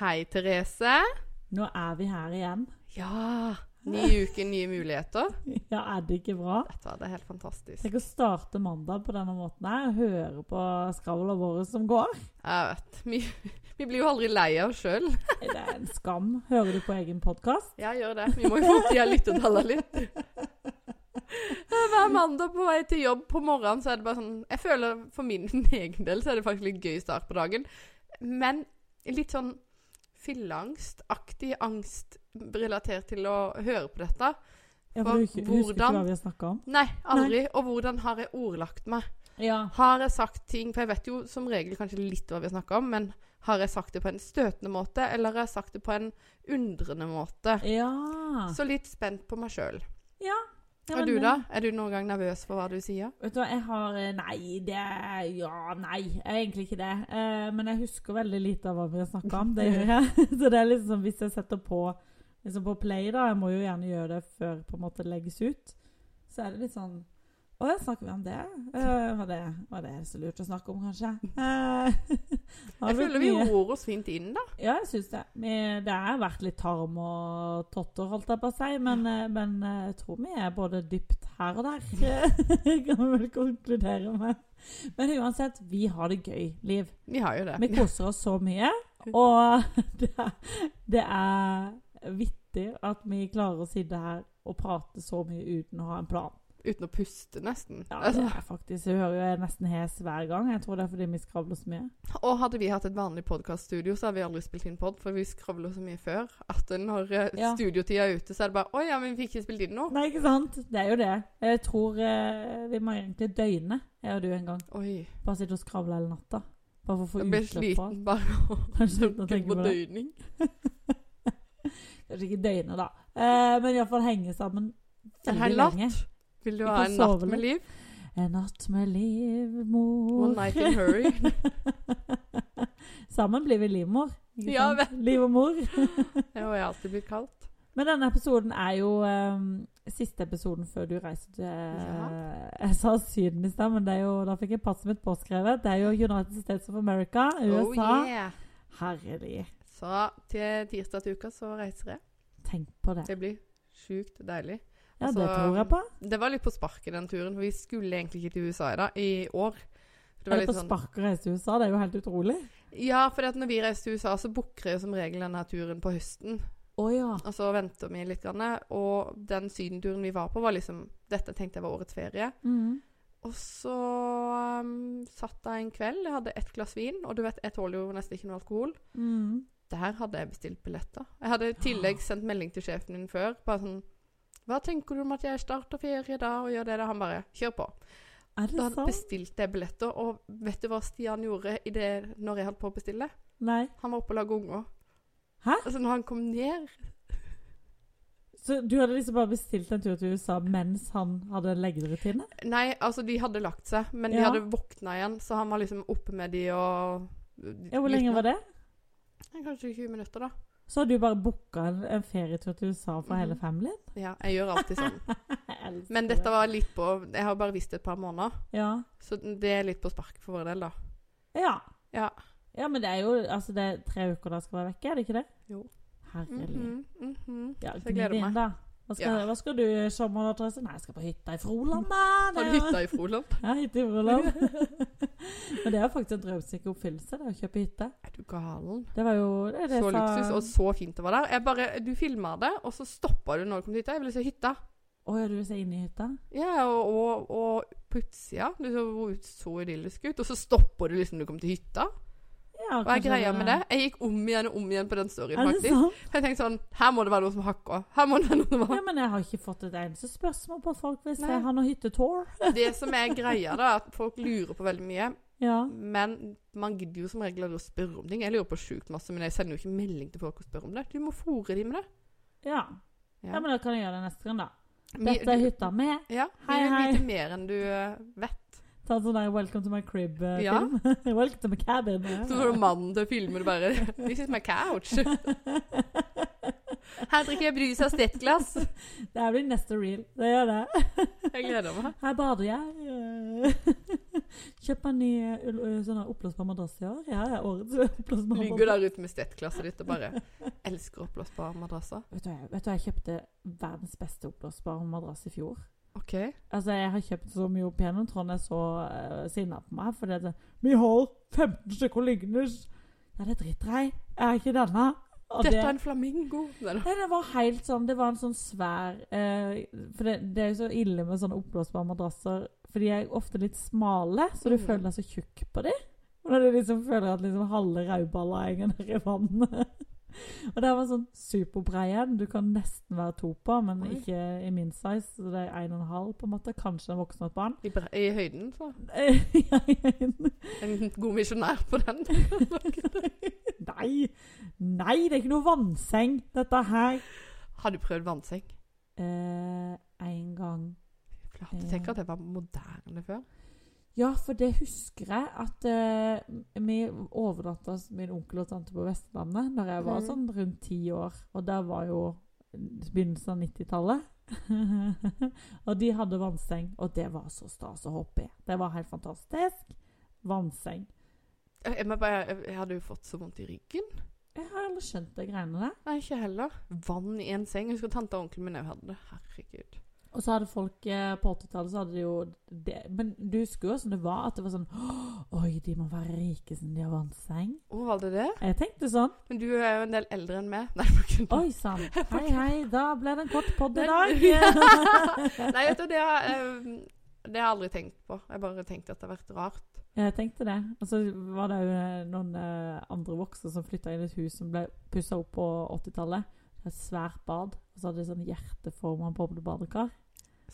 Hei, Therese. Nå er vi her igjen. Ja. Ny uke, nye muligheter. Ja, er det ikke bra? Dette var det helt fantastisk. Tenk å starte mandag på denne måten her. Høre på skravla våre som går. Jeg vet. Vi, vi blir jo aldri lei av oss sjøl. Det er en skam. Hører du på egen podkast? Ja, gjør det. Vi må jo få tida lyttetallene litt. Hver mandag på vei til jobb på morgenen så er det bare sånn Jeg føler for min egen del så er det faktisk litt gøy start på dagen. Men litt sånn fylleangstaktig angst relatert til å høre på dette. Jeg Hva- husker, husker ikke hvordan? hva vi har snakka om. Nei, aldri. Og hvordan har jeg ordlagt meg? Ja. Har jeg sagt ting For jeg vet jo som regel kanskje litt hva vi snakker om, men har jeg sagt det på en støtende måte, eller har jeg sagt det på en undrende måte? Ja. Så litt spent på meg sjøl. Ja, Og men du, det- da? Er du noen gang nervøs for hva du sier? Vet du hva, jeg har eh, Nei, det Ja, nei. Jeg er egentlig ikke det. Eh, men jeg husker veldig lite av hva vi har snakka om. Det gjør jeg. Så det er liksom hvis jeg setter på liksom på play, da Jeg må jo gjerne gjøre det før på en måte legges ut. Så er det litt sånn Å ja, snakker vi om det? Eh, var, det var det så lurt å snakke om, kanskje? Eh, har Jeg det blitt føler vi mye- ror oss fint inn, da. Ja, jeg syns det. Vi, det har vært litt tarm og totter, holdt jeg på å si, men, eh, men eh, jeg tror vi er både dypt her og der. kan vi vel konkludere med. Men uansett, vi har det gøy, Liv. Vi har jo det. Vi koser oss så mye. Og det er, det er vittig at vi klarer å sitte her og prate så mye uten å ha en plan. Uten å puste, nesten. Ja, det altså, er faktisk, Jeg hører jo jeg er nesten hes hver gang. Jeg tror det er fordi vi skravler så mye. og hadde vi hatt et vanlig podkaststudio, så hadde vi aldri spilt inn pod, for vi skravler så mye før at når eh, Ja. studiotida er ute, så er det bare Å ja, men vi fikk ikke spilt inn noe. Nei, ikke sant? Det er jo det. Jeg tror eh, vi må egentlig døgne, jeg og du, en gang. Oi. Bare sitte og skravle hele natta. Bare for å få Jeg ble utløp for sliten bare av Jeg å slutter å tenke tenke på på det. døgning. Kanskje ikke døgne, da. Eh, men iallfall henge sammen En veldig hel lenge. natt? Vil du Vi ha får en natt sove med litt. liv? En natt med livmor. One night in hurry. sammen blir vi livmor. ikke Ja, sant? Liv og mor. Det har jeg alltid blitt kalt. Men denne episoden er jo ehm, siste episoden før du reiser til eh, Jeg sa Syden i stad, men det er jo, da fikk jeg passet mitt påskrevet. Det er jo United States of America, USA. Oh yeah. Herlig. Så til tirsdag til uka så reiser jeg. Tenk på det. Det blir sjukt deilig. Ja, altså, det tror jeg på. Det var litt på sparket den turen, for vi skulle egentlig ikke til USA i, dag, i år. Det Er var det litt på sånn, spark å reise til USA? Det er jo helt utrolig. ja, for når vi reiser til USA, så booker jeg som regel denne turen på høsten. Å ja. Og så venter vi litt. Grann, og den sydenturen vi var på, var liksom Dette tenkte jeg var årets ferie. Mm. Og så um, satt jeg en kveld, jeg hadde ett glass vin, og du vet, jeg tåler jo nesten ikke noe alkohol. Mm. Der hadde jeg bestilt billetter. Jeg hadde i Ah. tillegg sendt melding til sjefen min før, bare sånn 'Hva tenker du om at jeg starter ferie da, og gjør det da?' Han bare 'Kjør på'. Er Da det hadde jeg sant? bestilt jeg billetter, og vet du hva Stian gjorde i det, når jeg holdt på å bestille? Nei. Han var oppe og laga unger. Hæ? Altså, når han kom ned Så du hadde liksom bare bestilt en tur til USA mens han hadde leggerutine? Nei, altså, de hadde lagt seg, men de Ja. hadde våkna igjen, så han var liksom oppe med de og Ja, hvor lenge var det? Kanskje 20 minutter, da. Så hadde du bare booka en, en ferietur til USA for hele Mhm. familien? Ja, jeg gjør alltid sånn. Jeg elsker Men dette var litt på Jeg har bare visst det et par måneder, Ja. så det er litt på sparket for vår del, da. Ja. Ja. Ja, men det er jo altså det er tre uker da skal være vekke, er det ikke det? Jo. Herlig. Mhm, mhm. Ja, Så jeg gni gleder det inn, meg. Da. Hva, skal, Ja. hva skal du i sommer, da, Therese? Nei, jeg skal på hytta i Froland, da. Har du hytta i Froland? Ja, hytte i Froland. men det er jo faktisk en drømsikker oppfyllelse, det å kjøpe hytte. Er du galen? Det var jo det, er det Så jeg sa- luksus, og så fint det var der. Jeg bare, du filma det, og så stoppa du når du kom til hytta. Jeg ville se hytta. Å ja, du vil se inn i hytta? Ja, og, og, og på utsida. Du så, hvor ut- så idyllisk ut. Og så stopper du liksom når du kom til hytta. Ja, Hva er kanskje greia med det? Jeg gikk om igjen og om igjen på den storyen, Er det faktisk. sant? Jeg tenkte sånn Her må det være noe som hakker. Her må det være noe som hakker. Ja, men jeg har ikke fått et eneste spørsmål på at folk vil se Nei. han og hyttetour. Det som er greia, da, er at folk lurer på veldig mye. Ja. Men man gidder jo som regel aldri å spørre om ting. Jeg lurer på sjukt masse, men jeg sender jo ikke melding til folk og spør om det. Du må fòre dem med det. ja. Ja. Ja, men da kan jeg gjøre det neste gang, da. Vi- Dette er hytta mi. Ja, vi Hei, vil hei. vite mer enn du eh, vet. Ta en sånn der 'Welcome to my Ja. crib'-film. Welcome to my cabin. Så får du mannen til å filme det bare This is my couch. Her drikker jeg brus av stettglass. Det her blir neste reel. Det gjør det. Jeg gleder meg. Her bader jeg. Kjøp meg ny eh, ull- eh, sånn her oppblåsbar madrass i år. Ja, ja, årets oppblåsbare Ligger der ute med estettklasset ditt og bare elsker oppblåsbare madrasser. Vet du, hva jeg- vet du, hva, jeg kjøpte verdens beste oppblåsbare madrass i fjor. OK. Altså, jeg har kjøpt så mye opp igjennom. Trond er så uh, sinna på meg. Fordi det, Vi har 15 stykker liggende! Ja, det driter jeg i. Jeg har ikke denne. Og Dette det- er en flamingo. Nei, da. Nei, det var helt sånn Det var en sånn svær eh, For det, det er jo så ille med sånne oppblåsbare madrasser, for de er jo ofte litt smale, så du Mhm. føler deg så tjukk på dem. Og når du liksom føler at liksom halve rauballa henger ned i vannet. Og det her var sånn superbrei en. Du kan nesten være to på, men Oi. ikke i min size. Så det er en og en halv, på en måte. Kanskje en voksen og et barn. I, bre- I høyden, så. Nei. En god misjonær på den. Nei, det er ikke noe vannseng, dette her. Har du prøvd vannseng? Eh, en gang Flate, tenk at det var moderne før. Ja, for det husker jeg at eh, vi overnatta hos min onkel og tante på Vestlandet når jeg var Mhm. sånn rundt ti år. Og det var jo begynnelsen av 90-tallet. og de hadde vannseng, og det var så stas å hoppe i. Det var helt fantastisk. Vannseng. Eh, Jeg, må bare, jeg hadde jo fått så vondt i ryggen. Jeg har aldri skjønt de greiene der. Nei, ikke heller. Vann i en seng. Jeg husker tante og onkelen min òg hadde det. Herregud. Og så hadde folk eh, på 80-tallet så hadde de jo det. Men du husker jo åssen det var? At det var sånn Oi, de må være rike siden de har vannseng. Å, var det det? Jeg tenkte sånn. Men du er jo en del eldre enn meg. Nei, på grunn av- Oi sann. Hei, hei. Da ble det en kort pod i dag. Nei, vet du, det har, eh, det har jeg aldri tenkt på. Jeg har bare tenkt at det har vært rart. Jeg tenkte det. Og så var det jo eh, noen eh, andre voksne som flytta inn i et hus som ble pussa opp på 80-tallet. Det var Et svært bad. Og så hadde de sånn hjerteforma boblebadekar.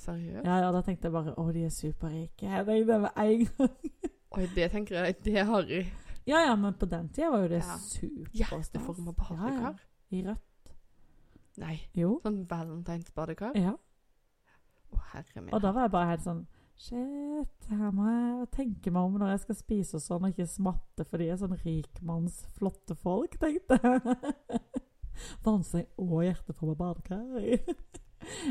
Seriøst? Ja, ja, da tenkte jeg bare å, de er superrike. Jeg tenkte det med en gang. Oi, det tenker jeg det er harry. Ja ja, men på den tida var jo det Ja. superstas. Hjerteforma Ja, badekar? ja. I rødt. Nei. Jo. Sånn valentinsbadekar? Å, Ja. herre min. Og da var jeg bare helt sånn Shit, her må jeg tenke meg om når jeg skal spise og sånn, og ikke smatte for de er sånn rikmannsflotte folk, tenkte jeg. Vannseng og hjerteforma badekar.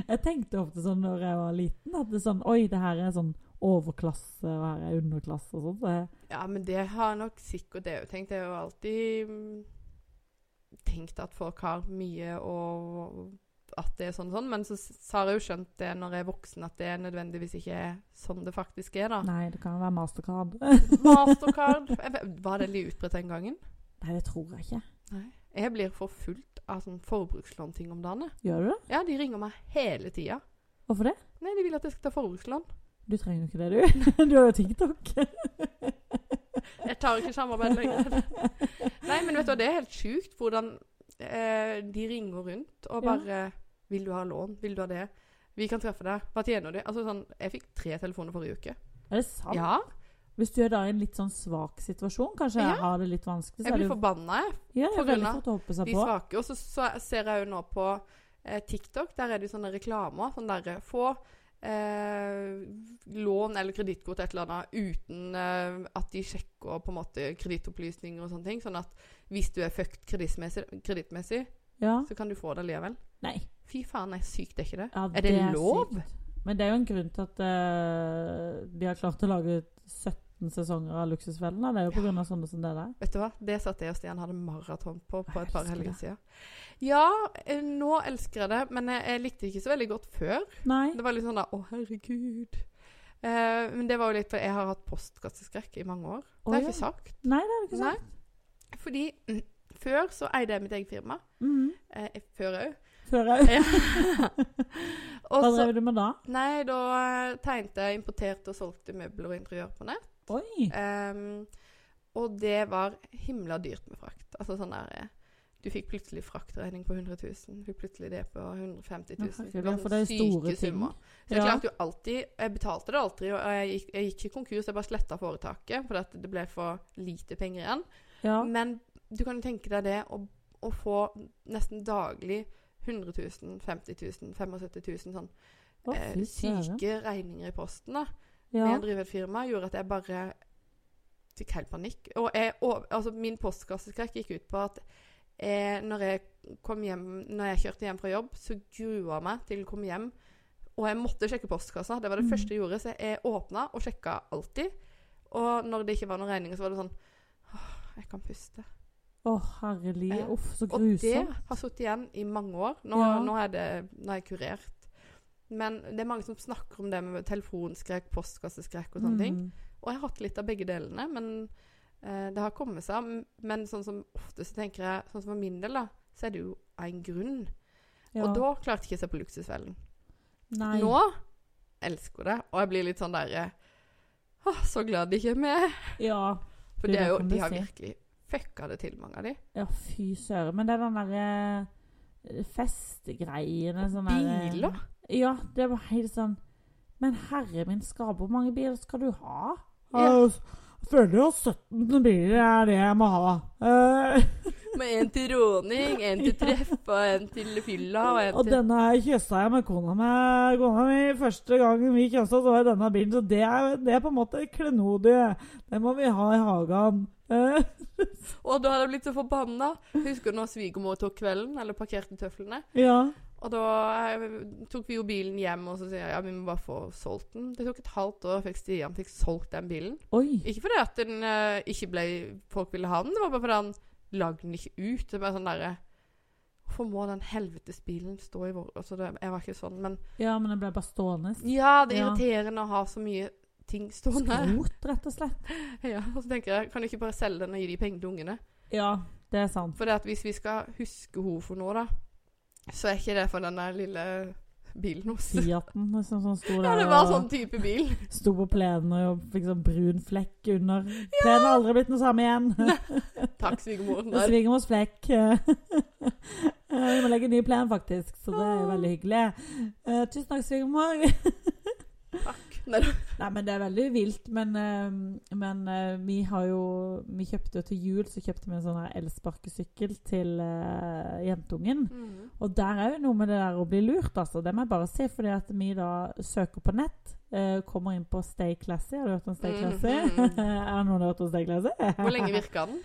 Jeg tenkte ofte sånn når jeg var liten, at det er sånn Oi, det her er sånn overklasse, og her er underklasse og sånn. Så jeg- Ja, men det har jeg nok sikkert det òg tenkt. Jeg har jo alltid mm, tenkt at folk har mye og at det er sånn og sånn, men så s- har jeg jo skjønt det når jeg er voksen at det nødvendigvis ikke er sånn det faktisk er, da. Nei, det kan jo være mastercard. Mastercard jeg vet- Var det litt utbredt den gangen? Nei, det tror jeg ikke. Nei. Jeg blir forfulgt av sånn forbrukslånting om dagene. Gjør du det? Ja, de ringer meg hele tida. Hvorfor det? Nei, de vil at jeg skal ta forbrukslån. Du trenger jo ikke det, du. Du har jo TikTok. Jeg tar ikke samarbeid lenger. Nei, men vet du hva, det er helt sjukt hvordan eh, de ringer rundt og Ja. bare 'Vil du ha lån? Vil du ha det? Vi kan treffe deg. Hva tjener du?' Altså sånn Jeg fikk tre telefoner forrige uke. Er det sant? Ja. Hvis du er da i en litt sånn svak situasjon, kanskje Ja. har det litt vanskelig, så Jeg er det blir jo forbanna, jeg. ja, det er veldig forbanna. fort å hoppe seg De på. svake. Og så, så ser jeg jo nå på eh, TikTok, der er det jo sånne reklamer. Sånn derre Få eh, lån eller kredittkort et eller annet uten eh, at de sjekker på en måte kredittopplysninger og sånne ting. Sånn at hvis du er fucked kredittmessig, kredittmessig Ja. så kan du få det likevel. Nei. Fy faen, nei, sykt er ikke det. Ja, Er det lov? sykt. Men det er jo en grunn til at eh, de har klart å lage 17 sesonger av Luksusfellen. da. Det er jo på grunn av sånne som det der. Vet du hva? Det satt jeg og Stian hadde maraton på på Jeg et par elsker helger det. siden. Ja, eh, nå elsker jeg det, men jeg, jeg likte det ikke så veldig godt før. Nei. Det var litt sånn da Å, herregud. Eh, men det var jo litt fordi jeg har hatt postkasseskrekk i mange år. Å, Det har jeg ja. ikke sagt. Nei, det har du ikke Nei. sagt. Fordi mm, før så eide jeg mitt eget firma. Mhm. Eh, før òg. Før jeg Og Hva Eh, så drev du med da? Nei, da eh, tegnet jeg, importerte og solgte møbler og interiør på nett. Oi. Ehm, og det var himla dyrt med frakt. Altså sånn der eh, Du fikk plutselig fraktregning på 100 000. Du fikk plutselig det på 150 Men 000. herregud, ja, for det er jo store ting. Så jeg Ja. klarte jo alltid Jeg betalte det alltid, og jeg gikk, jeg gikk ikke konkurs. Jeg bare sletta foretaket, for at det ble for lite penger igjen. Ja. Men du kan jo tenke deg det å, å få nesten daglig 100 000, 50 000, 75 000 sånn Å, eh, fy søren. syke regninger i posten, da Ja. med å drive et firma gjorde at jeg bare fikk helt panikk. Og jeg, og, altså, min postkasseskrekk gikk ut på at eh, når, jeg kom hjem, når jeg kjørte hjem fra jobb, så grua jeg meg til å komme hjem. Og jeg måtte sjekke postkassa. Det var det Mm. første jeg gjorde. Så jeg åpna og sjekka alltid. Og når det ikke var noen regninger, så var det sånn Åh, jeg kan puste. Å, herlig. Ja. Uff, så Eh, Og det grusomt. har sittet igjen i mange år. Nå, Ja. nå, er det, nå er jeg kurert. Men det er mange som snakker om det med telefonskrekk, postkasseskrekk og sånne ting. Mm. Og jeg har hatt litt av begge delene, men eh, det har kommet seg. M- Men sånn som ofte så tenker jeg, sånn som for min del, da, så er det jo av en grunn. Ja. Og da klarte ikke jeg å se på Luksusfellen. Nei. Nå elsker det, og jeg blir litt sånn derre Åh, så glad de ikke er med. Ja. For Du, det er det jo, kan du de har si. virkelig fucka det til, mange av de. Ja, fy søren. Men det er den derre festgreiene sånn derre- Biler. Ja, det var helt sånn Men herre min skaper, hvor mange biler skal du ha? Ja. Jeg føler jo 17 biler er det jeg må ha. Eh, Med en til råning, en til treff, og en til fylla, og en og til denne her kyssa jeg med kona mi kona mi. Første gangen vi kyssa, så var det denne bilen. Så det er, det er på en måte klenodiet. Det må vi ha i hagen. Eh, Og da hadde jeg blitt så forbanna. Husker du når svigermor tok kvelden, eller parkerte tøflene? ja. Og da eh, tok vi jo bilen hjem, og så sier jeg ja, vi må bare få solgt den. Det tok et halvt år før Stian fikk solgt den bilen. Oi. Ikke fordi at den eh, ikke ble folk ville ha den, det var bare fordi han lagde den ikke ut. Det var sånn derre Hvorfor må den helvetes bilen stå i vår altså det, Jeg var ikke sånn, men Ja, men den ble bare stående. Ja, det er Ja. irriterende å ha så mye ting stående. Skrot, rett og slett. Ja, og så tenker jeg, kan du ikke bare selge den og gi de pengene til ungene? Ja, det er sant. For det at hvis vi skal huske henne for noe, da, så er ikke det for den der lille bilen hos Fiaten liksom, som sto der Ja, det var og- sånn type bil. Sto på plenen og fikk sånn brun flekk under. Plenen har aldri blitt den samme igjen. Takk, svigermor. Det svinger med oss flekk. Eh, Vi må legge en ny plen, faktisk, så det er jo veldig hyggelig. Eh, Tusen takk, svigermor. Takk. Nei, da. Nei, men det er veldig vilt. Men, eh, men eh, vi har jo Vi kjøpte jo til jul så kjøpte vi en sånn her elsparkesykkel til eh, jentungen. Mm. Og der er jo noe med det der å bli lurt, altså. Det må jeg bare si. Fordi at vi da søker på nett, eh, kommer inn på Stay Classy. Har du hørt om Stay Classy? Mhm. er det noen som har hørt om Stay Classy? Hvor lenge virka den?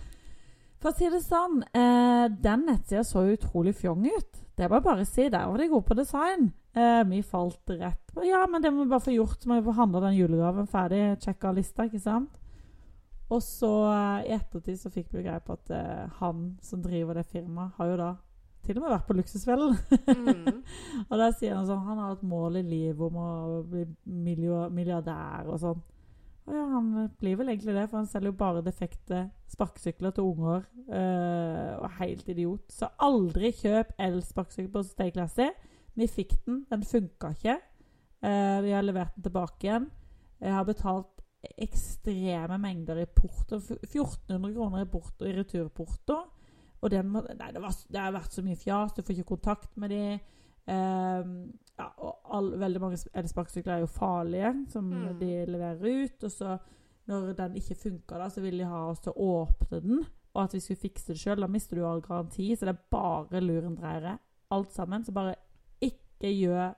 For å si det sånn, eh, den nettsida så utrolig fjong ut. Det var bare å si. Der var de gode på design. Eh, vi falt rett på Ja, men det må vi bare få gjort. Så må vi få handla den julegaven ferdig. Sjekka lista, ikke sant? Og så, eh, i ettertid, så fikk vi jo greie på at eh, han som driver det firmaet, har jo da til og med vært på Luksusfellen. Mm. Og der sier han sånn Han har et mål i livet om å bli miljø- milliardær og sånn. Og ja, han blir vel egentlig det, for han selger jo bare defekte sparkesykler til unger. eh, og helt idiot. Så aldri kjøp elsparkesykkel på Stay Classy. Vi fikk den, den funka ikke. Eh, vi har levert den tilbake igjen. Jeg har betalt ekstreme mengder i porto. F- 1400 kroner i, porto, i returporto. Og den må, nei, det, var, det har vært så mye fjas, du får ikke kontakt med de. Ehm, ja, og all, veldig mange sp- elsparkesykler er jo farlige, som Mm. de leverer ut. Og så, når den ikke funka, da, så ville de ha oss til å åpne den. Og at vi skulle fikse det sjøl. Da mister du jo all garanti, så det er bare lurendreiere. Alt sammen. Så bare ikke gjør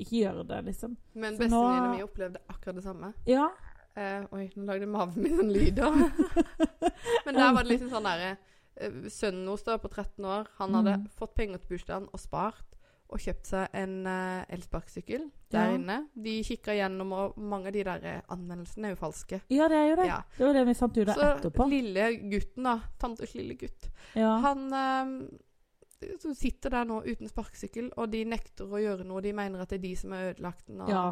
Ikke gjør det, liksom. Men Så bestevenninna nå- mi opplevde akkurat det samme. Ja. Eh, oi, nå lagde maven min en lyd da. Men der var det liksom sånn derre eh, Sønnen hennes da, på 13 år, han hadde Mm. fått penger til bursdagen og spart. Og kjøpt seg en eh, elsparkesykkel Ja. der inne. De kikka gjennom, og mange av de der eh, anmeldelsene er jo falske. ja, det er jo det. Ja. Det var det vi fant ut av Så etterpå. lille gutten, da. Tantes lille gutt. Ja. Han eh, som sitter der nå uten sparkesykkel, og de nekter å gjøre noe. De mener at det er de som har ødelagt den. og- ja.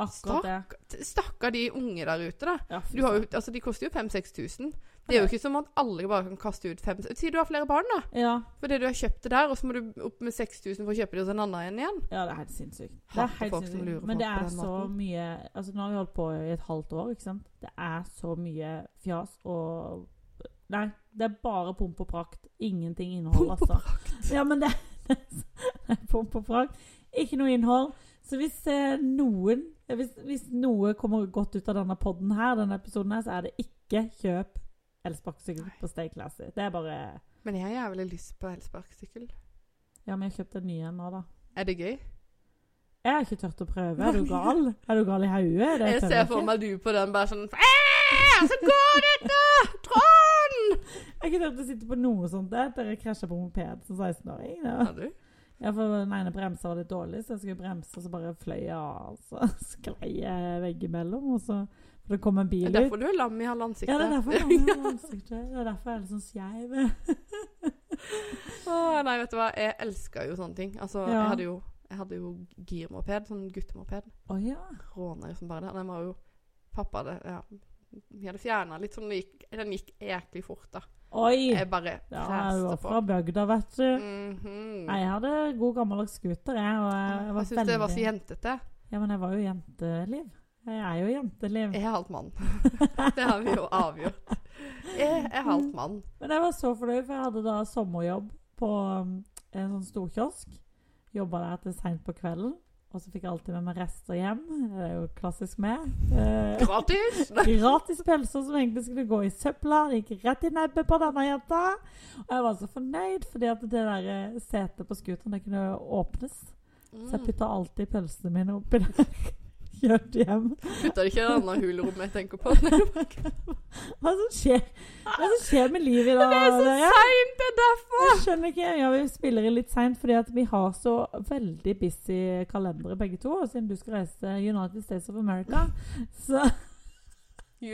Akkurat det. Stakkar de unge der ute, da. Ja, fy Du har jo, søren. altså, de koster jo 5000-6000. Det er jo ikke som at alle bare kan kaste ut 5000 Si du har flere barn, da. ja. For det du har kjøpt det der, og så må du opp med 6000 for å kjøpe det hos en annen igjen igjen. ja, det er helt sinnssykt. Det er Hater helt folk som lurer sinnssykt. Men folk det på er den så måten. mye Altså, nå har vi holdt på i et halvt år, ikke sant. Det er så mye fjas og Nei, det er bare pomp og prakt. Ingenting innhold, altså. Ja, men det, det er pomp og prakt. Ikke noe innhold. Så hvis eh, noen hvis, hvis noe kommer godt ut av denne podden her, denne episoden her, så er det ikke kjøp elsparkesykkel på Stay Classy. Det er bare Men jeg har jævlig lyst på elsparkesykkel. Ja, men jeg har kjøpt en ny en nå, da. Er det gøy? Jeg har ikke turt å prøve. Er du gal? Er du gal i hodet? Det Jeg tør ser jeg for ikke. meg du på den bare sånn «Æ, Så går dette! Trond! Jeg har ikke turt å sitte på noe sånt der, der jeg krasja på moped som 16-åring. da. Har du? Ja, for den ene bremsa var litt dårlig, så jeg skulle bremse, og så bare fløy jeg av. Så sklei jeg veggimellom, og så For det kom en bil Det er ut. derfor du er lam i halve ansiktet. Ja, det er derfor jeg har det ansiktet. Det er derfor jeg er litt sånn skeiv. Åh, nei, vet du hva. Jeg elsker jo sånne ting. Altså, Ja. jeg hadde jo jeg hadde jo girmoped, sånn guttemoped. Å ja. Råner jo som bare det. Den var jo Pappa hadde ja, Vi hadde fjerna litt sånn det gikk, Den gikk jæklig fort, da. Oi! Jeg bare Ja, jeg freste var på. fra bygda, vet du. Mhm. Nei, Jeg hadde god gammeldags scooter, jeg. Og jeg Jeg var syns det var så veldig jentete. Ja, men jeg var jo jenteliv. Jeg er jo jenteliv. Jeg er halvt mann. Det har vi jo avgjort. Jeg er halvt mann. Men jeg var så fornøyd, for jeg hadde da sommerjobb på um, en sånn storkiosk. Jobba der til seint på kvelden. Og så fikk jeg alltid med meg rester hjem. Det er jo klassisk meg. Eh, Gratis! Gratis pølser som egentlig skulle gå i søpla. Det gikk rett i nebbet på denne jenta. Og jeg var så fornøyd, fordi at det der eh, setet på scooteren det kunne åpnes. Så jeg Mm. putta alltid pølsene mine oppi der. Kjørte hjem. Putter ikke det andre hulrommet jeg tenker på. Hva er det som skjer, Hva er det som skskjer med livet i dag? Det er så dere? seint, det er derfor! Jeg skjønner ikke. Ja, vi spiller inn litt seint fordi at vi har så veldig busy kalendere begge to. Og siden du skal reise til United States of America, så USNA.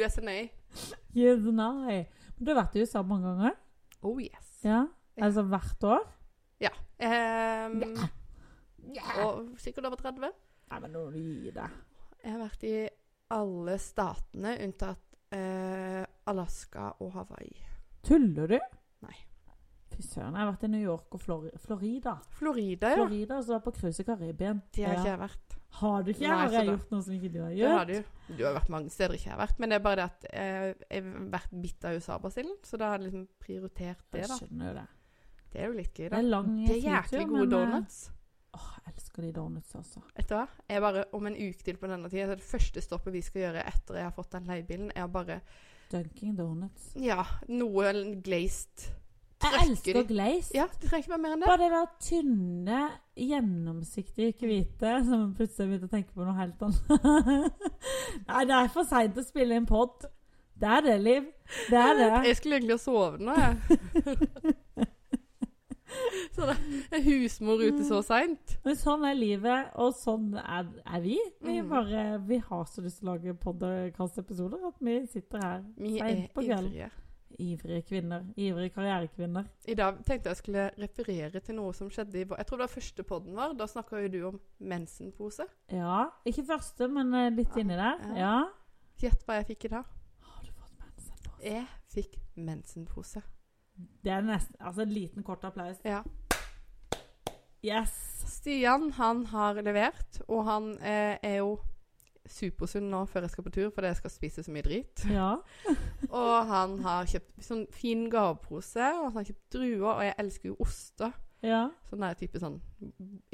yes, nei. Men Du har vært i USA mange ganger? Oh yes. Ja. Altså hvert år? Ehm, Ja. Og sikkert over 30. Nei, men nå gir deg. Jeg har vært i alle statene unntatt eh, Alaska og Hawaii. Tuller du? Nei. Fy søren, jeg har vært i New York og Flor Florida. Florida, ja. Florida, og så var jeg på cruise i Karibien. De har ikke Ja. jeg vært. Har du ikke? Nei, Har så jeg da- gjort noe som ikke du har Det har gjort? du. Du har vært mange steder ikke jeg har vært. Men det er bare det at eh, jeg har vært bitt av USA-basillen, så da har jeg liksom prioritert det, Jeg da. skjønner jo det. Det er jo litt gøy, Det da. er lang Det er jæklig flytur, gode men, eh, donuts. Åh, jeg elsker de donuts, altså. Vet du hva? Jeg bare, Om en uke til på denne tida, så er det første stoppet vi skal gjøre etter jeg har fått den leiebilen, er å bare Dunking Donuts. Ja, noe glazed. Jeg Trøkker elsker de. glaze. Ja, det trenger ikke være mer enn det. Bare det der tynne, gjennomsiktige hvite som plutselig begynte å tenke på noe helt annet. Nei, det er for seint å spille inn pod. Det er det, Liv. Det er det. Jeg skulle egentlig ha sovet nå, jeg. så det er husmor ute så seint. Men sånn er livet, og sånn er, er vi. Vi, Mm. bare, vi har så lyst til å lage podkast-episoder at vi sitter her. Vi er Seint på kvelden. ivrige. Ivrige kvinner. Ivrige karrierekvinner. I dag tenkte jeg skulle referere til noe som skjedde i vår Jeg tror det var første podden vår. Da snakka jo du om mensenpose. Ja. Ikke første, men eh, litt inni der. Ja. Ja. Gjett hva jeg fikk i dag. Har du fått mensen på? Jeg fikk mensenpose. Det er nesten Altså, en liten, kort applaus. Ja. Yes! Stian han har levert, og han eh, er jo supersunn nå før jeg skal på tur, fordi jeg skal spise så mye drit. Ja. Og han har kjøpt sånn fin gavepose, og han har kjøpt druer, og jeg elsker jo oster. ja. Sånn der type sånn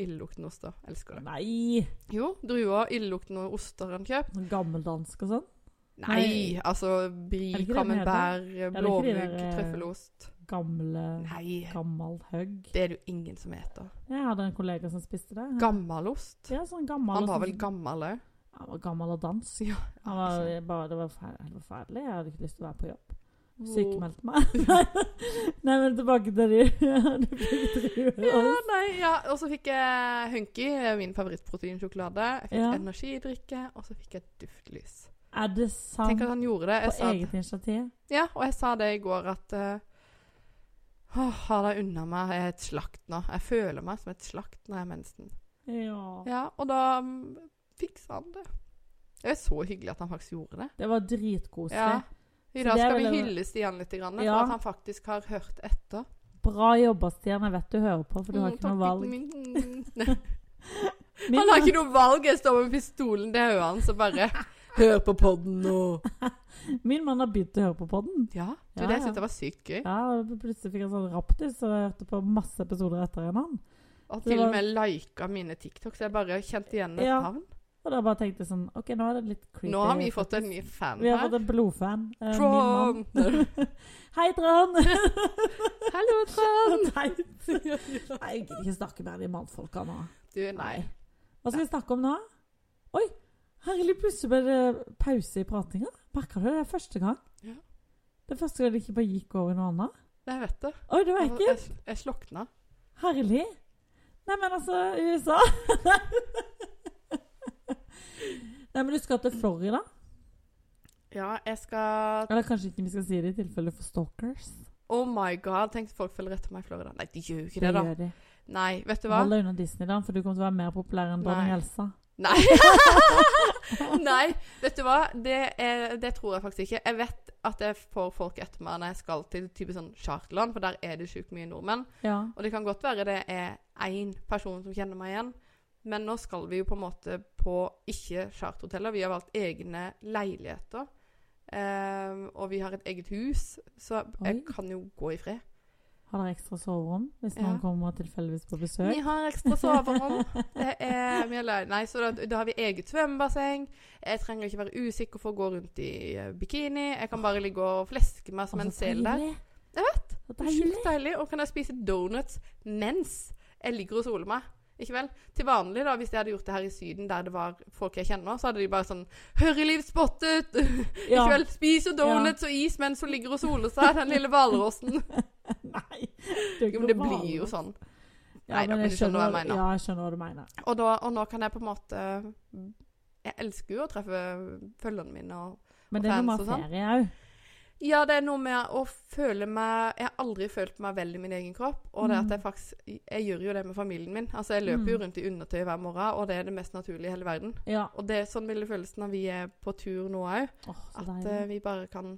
illeluktende oster. Elsker det. Nei! Jo, druer, illeluktende oster han kjøpt. Sånn gammeldansk og sånn. Nei, altså Er brie, det ikke det den camembert, det ikke de blåmugg, der, eh, trøffelost. Gamle Nei, Gammel høgg. det er det jo ingen som heter. Jeg hadde en kollega som spiste det. Gammalost. Mm. Ja, sånn gammel Han og var sånn- vel gammel òg. Han var gammel og dansk. Ja, Han var eh, bare, det var forferdelig. det var forferdelig. Jeg hadde ikke lyst til å være på jobb. Hvor- Sykemeldte meg. Nei, men tilbake til de Du fikk druer. Ja, og- nei, ja. Og så fikk jeg Hunky, min favorittproteinsjokolade. Jeg fikk Ja. energidrikke, og så fikk jeg duftlys. Er det sant? Tenk at han gjorde det. På Jeg sa, eget initiativ? ja, og jeg sa det i går at eh, Åh, ha det unna meg, jeg er et slakt nå. Jeg føler meg som et slakt når jeg har mensen. Ja. Ja, og da mm, fiksa han det. Det er så hyggelig at han faktisk gjorde det. Det var dritkoselig. Ja. I dag det skal vi ville- hylle Stian litt grann, for Ja. at han faktisk har hørt etter. Bra jobba, Stian. Jeg vet du hører på, for du har Mm, ikke noe takk, valg. gutten min. Nei. Han har ikke noe valg. Jeg står med pistolen til hodet hans og bare Hør på podden nå. Min mann har begynt å høre på podden. Ja, det Ja, er det ja. jeg syntes var sykt gøy. Ja, og plutselig fikk jeg sånn raptus, og jeg hørte på masse episoder etter hverandre. Og Det til var- og med lika mine TikToks. Jeg bare kjente igjen et Ja. navn. Og da bare tenkte jeg sånn OK, nå er det litt creepy. Nå har vi fått en ny fan Vi har fått her. en blodfan. Eh, min mann. Trond! Hei, Trond! Hallo, Trond! Nei, Nei, jeg gidder ikke snakke mer om de mannfolka nå. Du, nei. Hva skal vi snakke om nå? Oi! Herlig, plutselig ble det eh, pause i pratinga. Merka du det? Det er første gang. Ja. Det er første gang det ikke bare gikk over i noe annet. Jeg vet det. Altså, Oi, det var Jeg, ekkelt! jeg, jeg slokna. Herlig. Nei, men altså USA Nei, men du skal til Florida? Ja, jeg skal Eller kanskje ikke vi skal si det i tilfelle for stalkers? Oh my god, tenk at folk følger etter meg i Florida. Nei, de gjør jo ikke det, da. gjør de. Nei, vet du hva? Hold deg unna Disney, da, for du kommer til å være mer populær enn dronning Nei. Elsa. Nei. Nei, vet du hva? Det, er, det tror jeg faktisk ikke. Jeg vet at jeg får folk etter meg når jeg skal til typisk sånn charterland, for der er det sjukt mye nordmenn. Ja. Og det kan godt være det er én person som kjenner meg igjen, men nå skal vi jo på en måte på ikke charterhoteller. Vi har valgt egne leiligheter. Ehm, og vi har et eget hus, så jeg Oi. kan jo gå i fred. Har dere ekstra soverom hvis Ja. noen kommer tilfeldigvis på besøk? Vi har ekstra soverom. Det er, vi har leid- nei, så da, da har vi eget svømmebasseng. Jeg trenger ikke være usikker for å gå rundt i eh, bikini. Jeg kan bare ligge og fleske meg som en sel der. Jeg vet! Så Det er deilig. Sjukt deilig. Og kan jeg spise donuts mens jeg ligger og soler meg. Ikke vel? Til vanlig, da, hvis jeg hadde gjort det her i Syden, der det var folk jeg kjenner, så hadde de bare sånn 'Hurryliv spottet!' Ja. Ikke vel? Spiser donuts og is mens hun ligger og soler seg, den lille hvalrossen. Nei. Jo, men det blir jo sånn. Ja, Nei da, men du skjønner hva jeg mener. Ja, jeg skjønner hva du mener. Og, da, og nå kan jeg på en måte Jeg elsker jo å treffe følgerne mine. Og, Men det er Og noe med fans og sånn. ferie òg. ja, det er noe med å føle meg Jeg har aldri følt meg vel i min egen kropp. Og det at jeg faktisk Jeg gjør jo det med familien min. Altså, jeg løper jo Mm. rundt i undertøy hver morgen, og det er det mest naturlige i hele verden. Ja. Og det er sånn ville følelsen når vi er på tur nå òg. Åh, så At deilig. eh, vi bare kan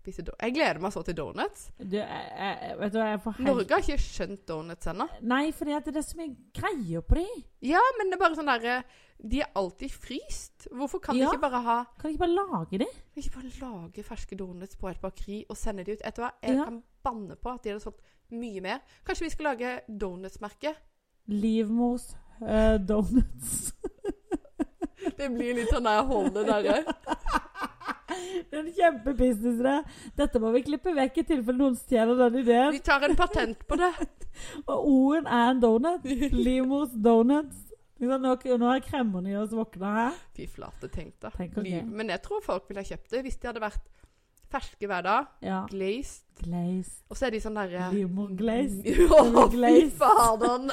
spise do Jeg gleder meg så til donuts. Du, jeg, jeg, vet du, hva, jeg får helt Norge har ikke skjønt donuts ennå. Nei, fordi at det er så mye greier på de. Ja, men det er bare sånn derre De er alltid fryst. Hvorfor kan Ja. de ikke bare ha Kan de ikke bare lage de? Kan Ikke bare lage ferske donuts på et bakeri og sende de ut. Vet du hva? Jeg Ja. kan banne på at de hadde solgt mye mer. Kanskje vi skal lage donutsmerke? Livmors eh, donuts. Det blir litt sånn der holde derre. Det er en kjempebusiness, det. Dette må vi klippe vekk i tilfelle noen stjeler den ideen. Vi tar en patent på det. Og O-en er en donut. Livmors donuts. Ikke sant? Nå, nå har kremmerne i oss våkna her. Fy flate, tenk da. Tenk om Liv- det. Men jeg tror folk ville ha kjøpt det hvis de hadde vært ferske hver dag. Ja. Glazed. Glaze. Og så er de sånn derre Livmor glaze. Å, fy Glaze. faderen.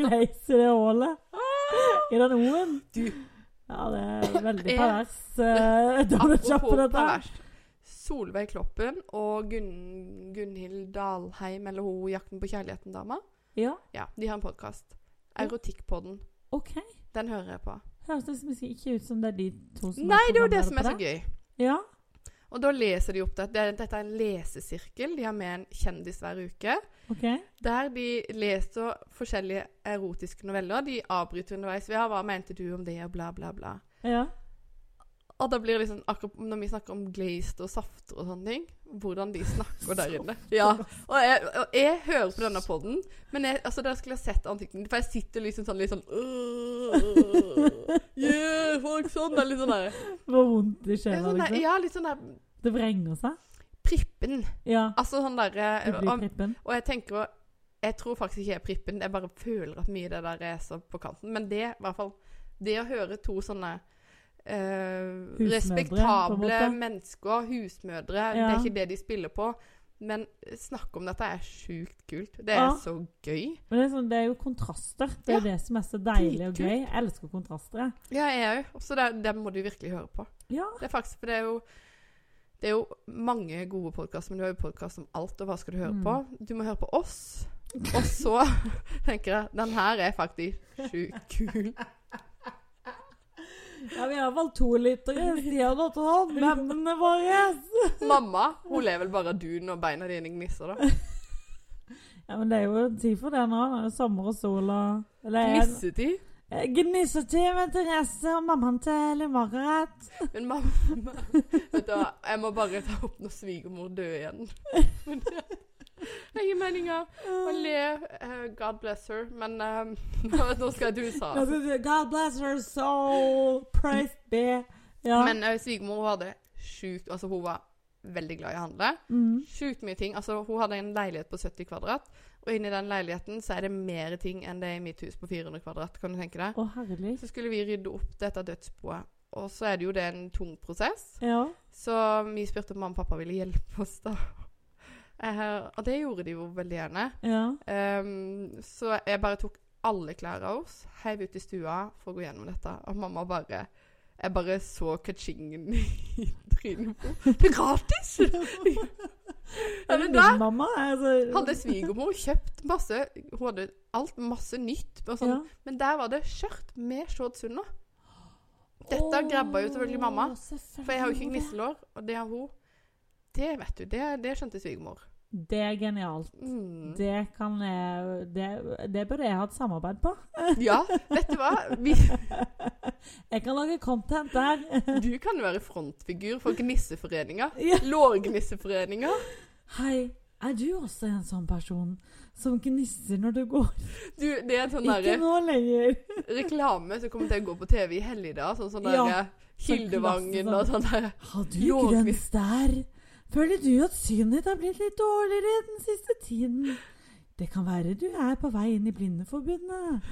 Glaze i det Ah! hålet. I den O-en. Du. Ja, det er veldig Eh, pervers uh, donutsjappe, Apropos dette. her. pervers. Solveig Kloppen og Gunn, Gunnhild Dalheim, eller hun i 'Jakten på kjærligheten'-dama. Ja, Ja, de har en podkast. Ja. Erotikkpodden. OK. Den hører jeg på. Høres liksom ikke ut som det er de to som Nei, det er jo det programleder som er på så gøy. Ja. Og da leser de opp det. det er- dette er en lesesirkel. De har med en kjendis hver uke. OK. Der de leser forskjellige erotiske noveller. De avbryter underveis. Ja, hva mente du om det, og bla, bla, bla. Ja. Og da blir det liksom akkurat Når vi snakker om glazed og safter og sånne ting, hvordan de snakker der inne. Ja. Og jeg, og jeg hører på denne podden, men jeg, altså, dere skulle ha sett ansiktet For jeg sitter liksom sånn litt sånn «Øh, Yeah, folk sånn. Det er litt sånn der Hvor vondt det Ja, skjer. sånn der, liksom. ja, litt sånn der Det vrenger seg. Prippen. Ja. Altså sånn Du derre blir og, prippen. og jeg tenker jo Jeg tror faktisk ikke jeg er prippen, jeg bare føler at mye av det der er så på kanten. Men det, i hvert fall Det å høre to sånne eh, på en respektable måte. mennesker, husmødre Det er Ja. ikke det de spiller på. Men snakke om dette er sjukt kult. Det er Ja. så gøy. Men det er, sånn, det er jo kontraster. Det er Ja. jo det som er så deilig og Dritkult. gøy. Jeg elsker kontraster. jeg. Ja, jeg òg. Så det, det må du virkelig høre på. Ja. Det er faktisk, for det er jo det er jo mange gode podkaster, men du har jo podkast om alt, og hva skal du høre på? Du må høre på oss. Og så tenker jeg den her er faktisk sjukt kul. ja, vi har valgt to lyttere. Stian og Trond, mennene våre. Mamma hun ler vel bare av du når beina dine gnisser, da. Ja, men det er jo tid for det nå. Det er jo sommer og sol og Eller en- Gnissetid. eh, Gnissetid med Therese og mammaen til Lill Margaret. Men mamma Vet du hva, jeg må bare ta opp når svigermor dør igjen. Men det det er ingen meninger å le. eh, God bless her. Men eh, nå skal jeg til USA. Da skal vi si, God bless her soul. Praise be. Ja. Men eh, svigermor hun hadde sjukt Altså, hun var veldig glad i å handle. mm. Sjukt mye ting. Altså, hun hadde en leilighet på 70 kvadrat, og inni den leiligheten så er det mer ting enn det er i mitt hus på 400 kvadrat, kan du tenke deg. Å, herlig. Så skulle vi rydde opp dette dødsboet, og så er det jo det en tung prosess. Ja. Så vi spurte om mamma og pappa ville hjelpe oss, da. Eh, og det gjorde de jo veldig gjerne. Ja. Ehm, så jeg bare tok alle klærne våre, heiv ut i stua for å gå gjennom dette. Og mamma bare Jeg bare så kachingen i trynet på henne. Det er gratis! ja, men da Min mamma altså, hadde svigermor kjøpt masse Hun hadde alt masse nytt. Bare sånn. ja. Men der var det skjørt med shorts under. Dette Åh, grabba jo selvfølgelig mamma, selvfølgelig. For jeg har jo ikke gnisselår, og det har hun. Det vet du, det, det skjønte svigermor. Det er genialt. Mm. Det kan jeg Det, det burde jeg ha et samarbeid på. Ja, vet du hva? Vi, Jeg kan lage content der. Du kan være frontfigur for Gnisseforeninga. Ja. Lårgnisseforeninga. Hei, er du også en sånn person som gnisser når du går? Du, det er en sånn Ikke der nå lenger. reklame som kommer til å gå på TV i helligdager. Sånn sånn Ja. der Kildevangen og sånn der. Har du Jo, grønn vi- stær? Føler du at synet ditt har blitt litt dårligere den siste tiden? Det kan være du er på vei inn i Blindeforbundet.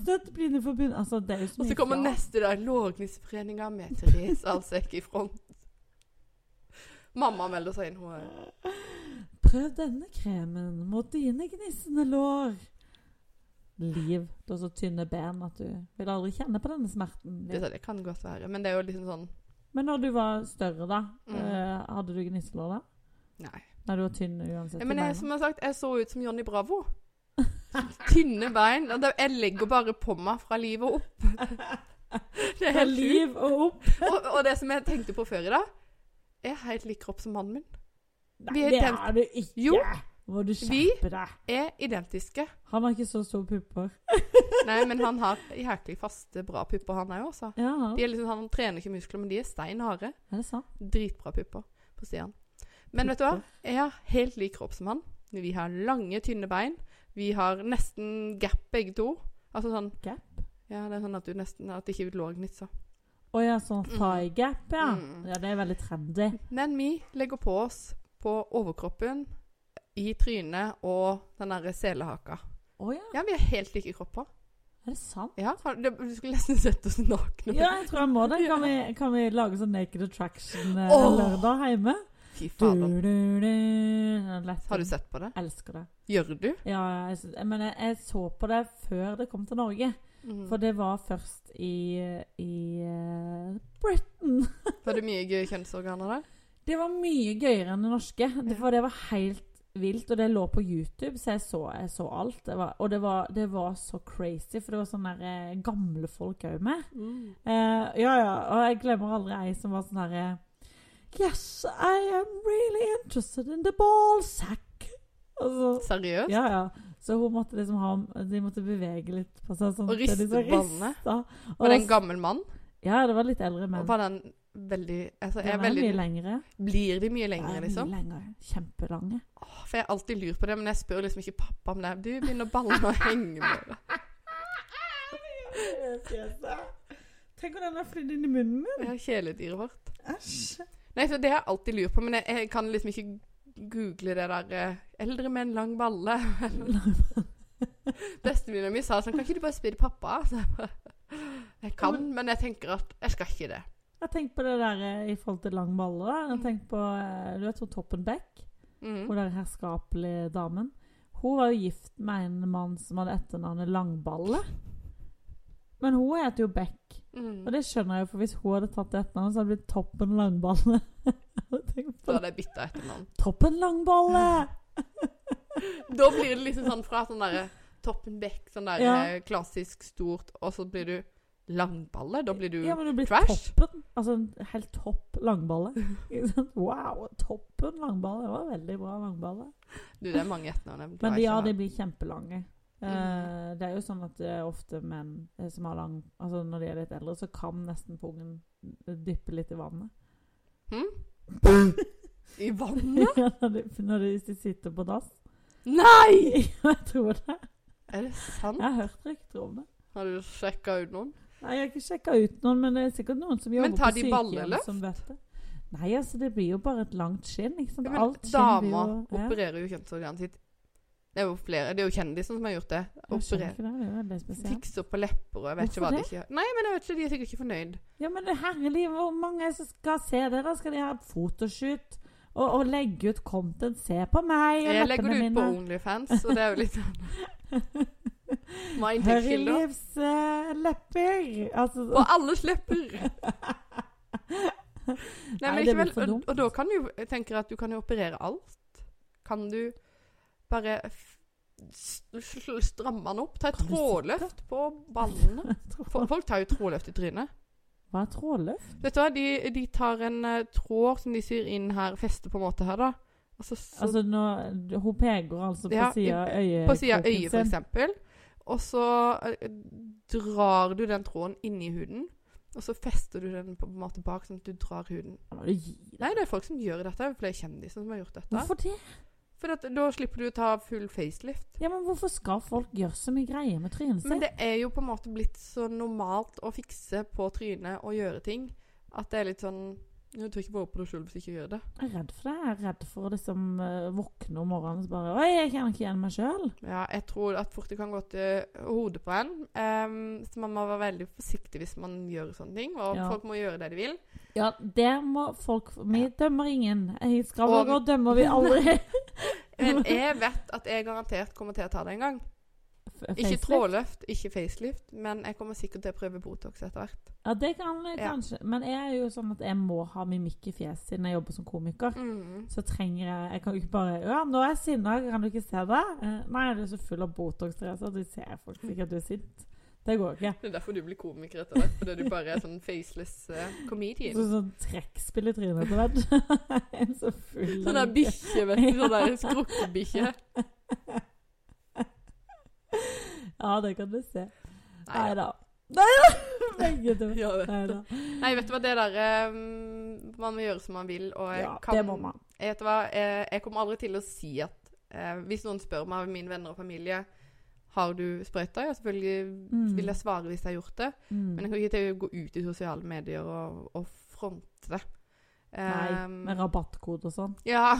Støtt Blindeforbundet. Altså, det er jo så Og mye så kommer krav. neste der. Lårgnisseforeninga med Therese Alsek i front. Mamma melder seg inn. Hun er Prøv denne kremen mot dine gnissende lår. Liv, du har så tynne ben at du vil aldri kjenne på denne smerten. det, sånn, det kan godt være. Men det er jo liksom sånn Men når du var større, da, Mm. eh, hadde du gnisselår da? Nei. Nei, du var tynn uansett. Ja, i men beina. jeg, som jeg har sagt, jeg så ut som Johnny Bravo. Tynne bein. og det- Jeg legger bare på meg fra livet og opp. Det er Fra helt sjukt. liv og opp. og, og det som jeg tenkte på før i dag, jeg er helt lik kropp som mannen min. Nei, Vi er det ident- er du ikke. Jo. Må du Vi- skjerpe deg. Er identiske. Han har ikke så store pupper. Nei, men han har jæklig faste, bra pupper, han er jo også. Ja, De er liksom, han trener ikke muskler, men de er stein harde. er det sant? Dritbra pupper på Stian. Men vet du hva? Jeg har helt lik kropp som han. Vi har lange, tynne bein. Vi har nesten gap begge to. Altså sånn Gap? Ja, det er sånn at du nesten At det ikke lår gnitser. Å ja, sånn thigh gap, ja. Mm. Ja, det er veldig trendy. Men vi legger på oss på overkroppen, i trynet og den derre selehaka. Å ja, Ja, vi er helt like kropper. er det sant? Ja, har- det- Du skulle nesten sett oss nakne. Ja, jeg tror jeg må det. Kan vi, kan vi lage sånn Naked Attraction eh, Åh! lørdag hjemme? Fy Du, du, fader. du. Den er lett. Har du sett på det? Elsker det. Gjør du? Ja, jeg, sy- men jeg, jeg så på det før det kom til Norge. Mm. For det var først i, i eh, Britain. Var det mye gøy kjønnsorganer der? Det var mye gøyere enn det norske. Det, Ja. for det var helt vilt, og det lå på YouTube, så jeg så, jeg så alt. Det var, og det var, det var så crazy, for det var sånne der, eh, gamle folk òg med. Eh, ja, ja. Og jeg glemmer aldri ei som var sånn herre Yes, I am really interested in the Altså, ball sack. Og så, Seriøst? ja, ja. Så hun måtte liksom ha De måtte bevege litt på seg. Sånn, Og at de riste liksom ballene. rista. Og Var det en gammel mann? Ja, det var litt eldre menn. Og var den veldig altså, Den jeg er er veldig mye lengre. Blir de mye Ja, lengre, mye liksom? lengre. Kjempelange. Åh, For jeg har alltid lurt på det, men jeg spør liksom ikke pappa om det. Du begynner ballene å henge med deg. Tenk om den har flydd inn i munnen min. Det er kjæledyret vårt. Æsj. Nei, så det har jeg alltid lurt på, men jeg, jeg kan liksom ikke google det der eh, 'Eldre med en lang balle'. Bestevenninna mi sa sånn Kan ikke du bare spørre pappa? Så jeg bare, Jeg kan, men jeg tenker at jeg skal ikke det. Jeg tenkte på det der eh, i forhold til lang balle. da. Jeg tenkte på, eh, Du vet hun Toppen Beck? Mm. Hun der herskapelige damen. Hun var jo gift med en mann som hadde etternavnet Langballe. Men hun heter jo Beck. Og Mm. det skjønner jeg jo, for hvis hun hadde tatt det etternavnet, så hadde det blitt Toppen Langballe. Tenk Da på det. hadde jeg bytta etternavn. Toppen Langballe! Da blir det liksom sånn fra sånn derre Toppen Beck, sånn der Ja. eh, klassisk stort, og så blir du langballe. Da blir du Ja, men det blir trash? toppen. Altså en helt topp langballe. Ikke sant? wow, toppen langballe. Det var veldig bra langballe. Du, det er mange etternavn jeg Men klarer de, ja, ikke Mm. de å ha. blir kjempelange. Eh, det er jo sånn at det er ofte menn eh, som har lang Altså når de er litt eldre, så kan nesten pungen eh, dyppe litt i vannet. Hm? I vannet? Ja, når, de, når de, hvis de sitter på dass. Nei! Jeg tror det. Er det sant? Jeg har hørt rykter om det. Har du sjekka ut noen? Nei, Jeg har ikke sjekka ut noen, men det er sikkert noen som jobber Men tar på de sykehjem balleløft? som vet det. Nei, altså, det blir jo bare et langt skinn. ikke sant? Ja, men Alt skinn blir damer jo- ja. opererer jo kjønnsorganet sitt. Det er jo flere, det er jo kjendisene som har gjort det. Jeg skjønner Opererer. ikke det, det er veldig spesielt. Fikser på lepper og jeg vet ikke hva Hvorfor de ikke gjør. Nei, men jeg vet ikke, de er sikkert ikke fornøyd. Ja, men herlig, hvor mange er det som skal se det? da? Skal de ha et fotoshoot? Og, og legge ut content. Se på meg og Jeg legger leppene det ut på mine. Onlyfans, og det er jo litt sånn Må ha Hør i inntektskilder. livs eh, lepper. Altså, Og alle slipper! Nei, Nei, men det ikke blir vel, for og, dumt. og da kan du jo Jeg tenker at du kan jo operere alt. Kan du bare f s- s- stramme den opp? Ta et Kan du trådløft på ballene? Fo- Folk tar jo trådløft i trynet. Hva er trådløft? Vet du hva, de, de tar en eh, tråd som de syr inn her, fester på en måte her, da. Og så, så Altså, nå, hun peker altså på Ja, sida av øyet. på sida av øyet, for eksempel. Og så eh, drar du den tråden inni huden, og så fester du den på en måte bak, sånn at du drar huden. Nei, det er folk som gjør dette. Det er flere kjendiser som har gjort dette. Hvorfor det? For at, da slipper du å ta full facelift. Ja, men hvorfor skal folk gjøre så mye greier med trynet Men sitt? det er jo på en måte blitt så normalt å fikse på trynet og gjøre ting at det er litt sånn Du tror ikke bare på deg sjøl hvis du ikke gjør det. Jeg er redd for det. Jeg er redd for å liksom eh, våkne om morgenen og så bare Oi, jeg kjenner ikke igjen meg sjøl. Ja, jeg tror at fort det kan gå til hodet på en. Ehm, så man må være veldig forsiktig hvis man gjør sånne ting. Og Ja. folk må gjøre det de vil. Ja, det må folk Vi dømmer ingen. I Og- Skravlegård dømmer vi aldri. Men jeg vet at jeg garantert kommer til å ta det en gang. Ikke Facelift. trådløft, ikke facelift, men jeg kommer sikkert til å prøve Botox etter hvert. Ja, det kan jeg Ja. kanskje. Men jeg er jo sånn at jeg må ha mimikk i fjeset siden jeg jobber som komiker. Mm. Så trenger jeg Jeg kan jo ikke bare Ja, nå er jeg sinna, kan du ikke se det? Eh, Nei, du er så full av Botox, Therese, at du ser faktisk ikke at du er sint. Det går ikke. Det er derfor du blir komiker etter hvert, fordi du bare er sånn faceless eh, comedian. Så, sånn trekkspill i trynet etter hvert. Jeg er så full av Sånn der mimikk. bikkje, vet du. Sånn der skrukkebikkje. Ja, det kan du se. Nei Nei da. da. Nei da! Begge to. Ja, vet Nei du. da. Nei, vet du hva, det derre Man må gjøre som man vil, og jeg Ja, kan det må man. Jeg Vet du hva, jeg, jeg kommer aldri til å si at eh, Hvis noen spør meg av mine venner og familie har du sprøyta? Ja, selvfølgelig Mm. vil jeg svare hvis jeg har gjort det. Mm. Men jeg kan ikke til å gå ut i sosiale medier og, og fronte det. Nei, Ehm, med rabattkode og sånn. Ja.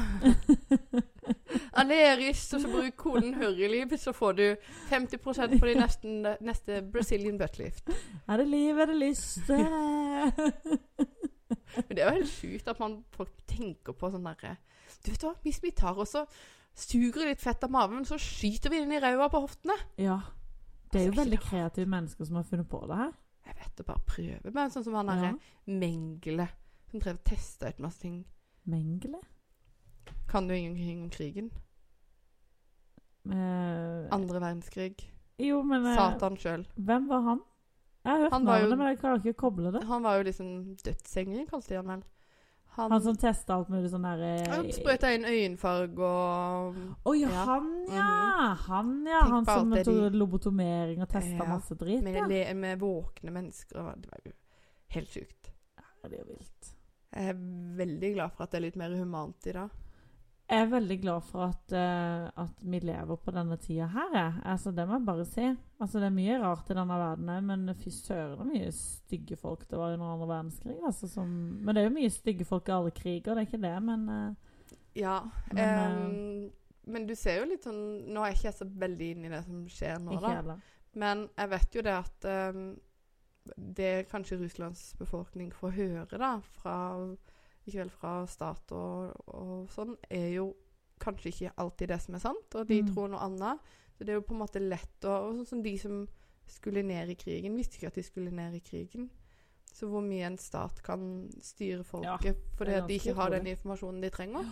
Aleris, og så bruk koden Hurryliv, så får du 50 på din neste, neste Brazilian buttlift. Er det liv, er det lyst? Men det er jo helt sjukt at man, folk tenker på sånn derre Du vet hva, hvis vi tar og så suger litt fett av maven, så skyter vi den i ræva på hoftene. ja. Det er jo Altså, veldig ikke kreative mennesker som har funnet på det her. Jeg vet det, bare prøver. Men sånn som han derre Ja. Mengele, som drev og testa ut masse ting. Mengele. Kan du ingenting om krigen? Eh, Andre verdenskrig. jo, men eh, Satan sjøl. hvem var han? Jeg har hørt Han var jo- navnet, men jeg klarer ikke å koble det. Han var jo liksom dødsengelen, kalte de han vel. Han som testa alt mulig sånn Han derre sprøyta inn øyenfarge og Å ja, Ja. Mhm. han ja! Han ja, Tenk han på alt som det de- tok lobotomering og testa Ja. masse drit. med, Ja. le, med våkne mennesker. og Det var jo helt sjukt. Ja, Det er jo vilt. Jeg er veldig glad for at det er litt mer humant i dag. Jeg er veldig glad for at, eh, at vi lever på denne tida her, jeg. Altså, det må jeg bare si. Altså, det er mye rart i denne verden òg, men fy søren det er mye stygge folk det var under andre verdenskrig. Altså, som, men det er jo mye stygge folk i alle kriger, det er ikke det, men eh, Ja. Men, eh, ehm, men du ser jo litt sånn Nå er ikke jeg så veldig inne i det som skjer nå, ikke da. heller. Men jeg vet jo det at ehm, det kanskje Russlands befolkning får høre, da, fra ikke vel fra stat og, og sånn, er jo kanskje ikke alltid det som er sant, og de Mm. tror noe annet. Så det er jo på en måte lett å Og sånn som de som skulle ned i krigen, visste ikke at de skulle ned i krigen. Så hvor mye en stat kan styre folket fordi at ganske de ikke har utrolig. den informasjonen de trenger,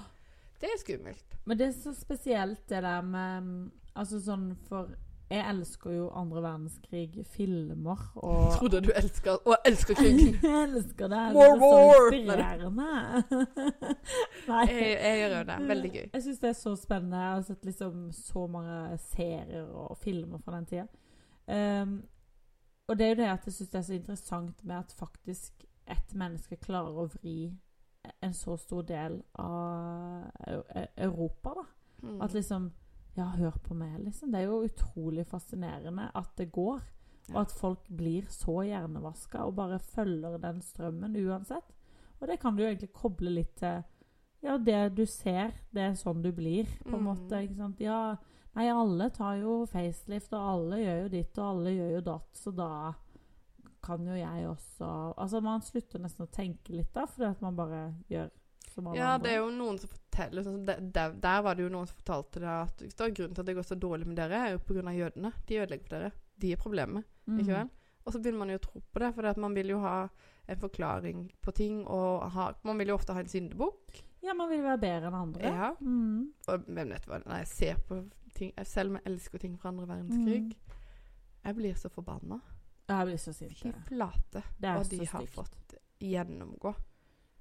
det er skummelt. Men det er så spesielt det der med mm, Altså sånn for Jeg elsker jo andre verdenskrig-filmer og Trodde du elsker Og elsker krigen! Jeg elsker det. More det war! er så inspirerende. Nei. Jeg, jeg gjør jo det. Veldig gøy. Jeg syns det er så spennende. Jeg har sett liksom så mange serier og filmer fra den tida. Ehm, og det er jo det at jeg syns det er så interessant med at faktisk et menneske klarer å vri en så stor del av Eu- Europa, da. Mm. At liksom Ja, hør på meg, liksom. Det er jo utrolig fascinerende at det går. Og at folk blir så hjernevaska og bare følger den strømmen uansett. Og det kan du jo egentlig koble litt til Ja, det du ser, det er sånn du blir, på en Mm. måte. Ikke sant? Ja, nei, alle tar jo facelift, og alle gjør jo ditt, og alle gjør jo datt, så da kan jo jeg også Altså, man slutter nesten å tenke litt da, fordi at man bare gjør som alle Ja, det andre. er jo noen som forteller sånn, som der, der, der var det jo noen som fortalte det at hvis det er grunnen til at det går så dårlig med dere, er jo pga. jødene. De ødelegger for dere. De er problemet, Mhm. ikke vel? Og så begynner man jo å tro på det, for det at man vil jo ha en forklaring på ting. Og ha, man vil jo ofte ha en syndebukk. Ja, man vil være bedre enn andre. Ja. Mhm. Og hvem vet hva Nei, jeg ser på ting jeg- Selv om jeg elsker ting fra andre verdenskrig, jeg blir så forbanna. Jeg blir så sint. Fy jeg. flate Det er hva så de har stygt. fått gjennomgå.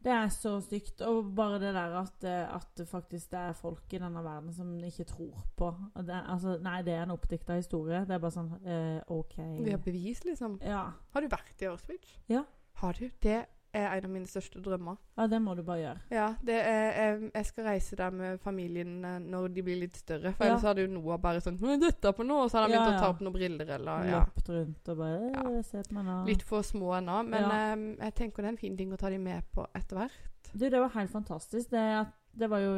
Det er så stygt. Og bare det der at, eh, at det faktisk det er folk i denne verden som ikke tror på Og det, altså, Nei, det er en oppdikta historie. Det er bare sånn eh, OK. Vi har bevis, liksom. Ja. Har du vært i Auschwitz? Ja. Har du? Det er en av mine største drømmer. ja, det må du bare gjøre. Ja, det er, jeg, jeg skal reise der med familien eh, når de blir litt større. For Ja. ellers hadde jo Noah bare sånn «Hva er 'Dette på noe?' Og så hadde han Ja, begynt å ja. ta opp noen briller eller ja. Løpt rundt og bare eh, Se på meg nå. Litt for små ennå. Men Ja. eh, jeg tenker det er en fin ting å ta de med på etter hvert. Du, det var helt fantastisk. Det, at- det var jo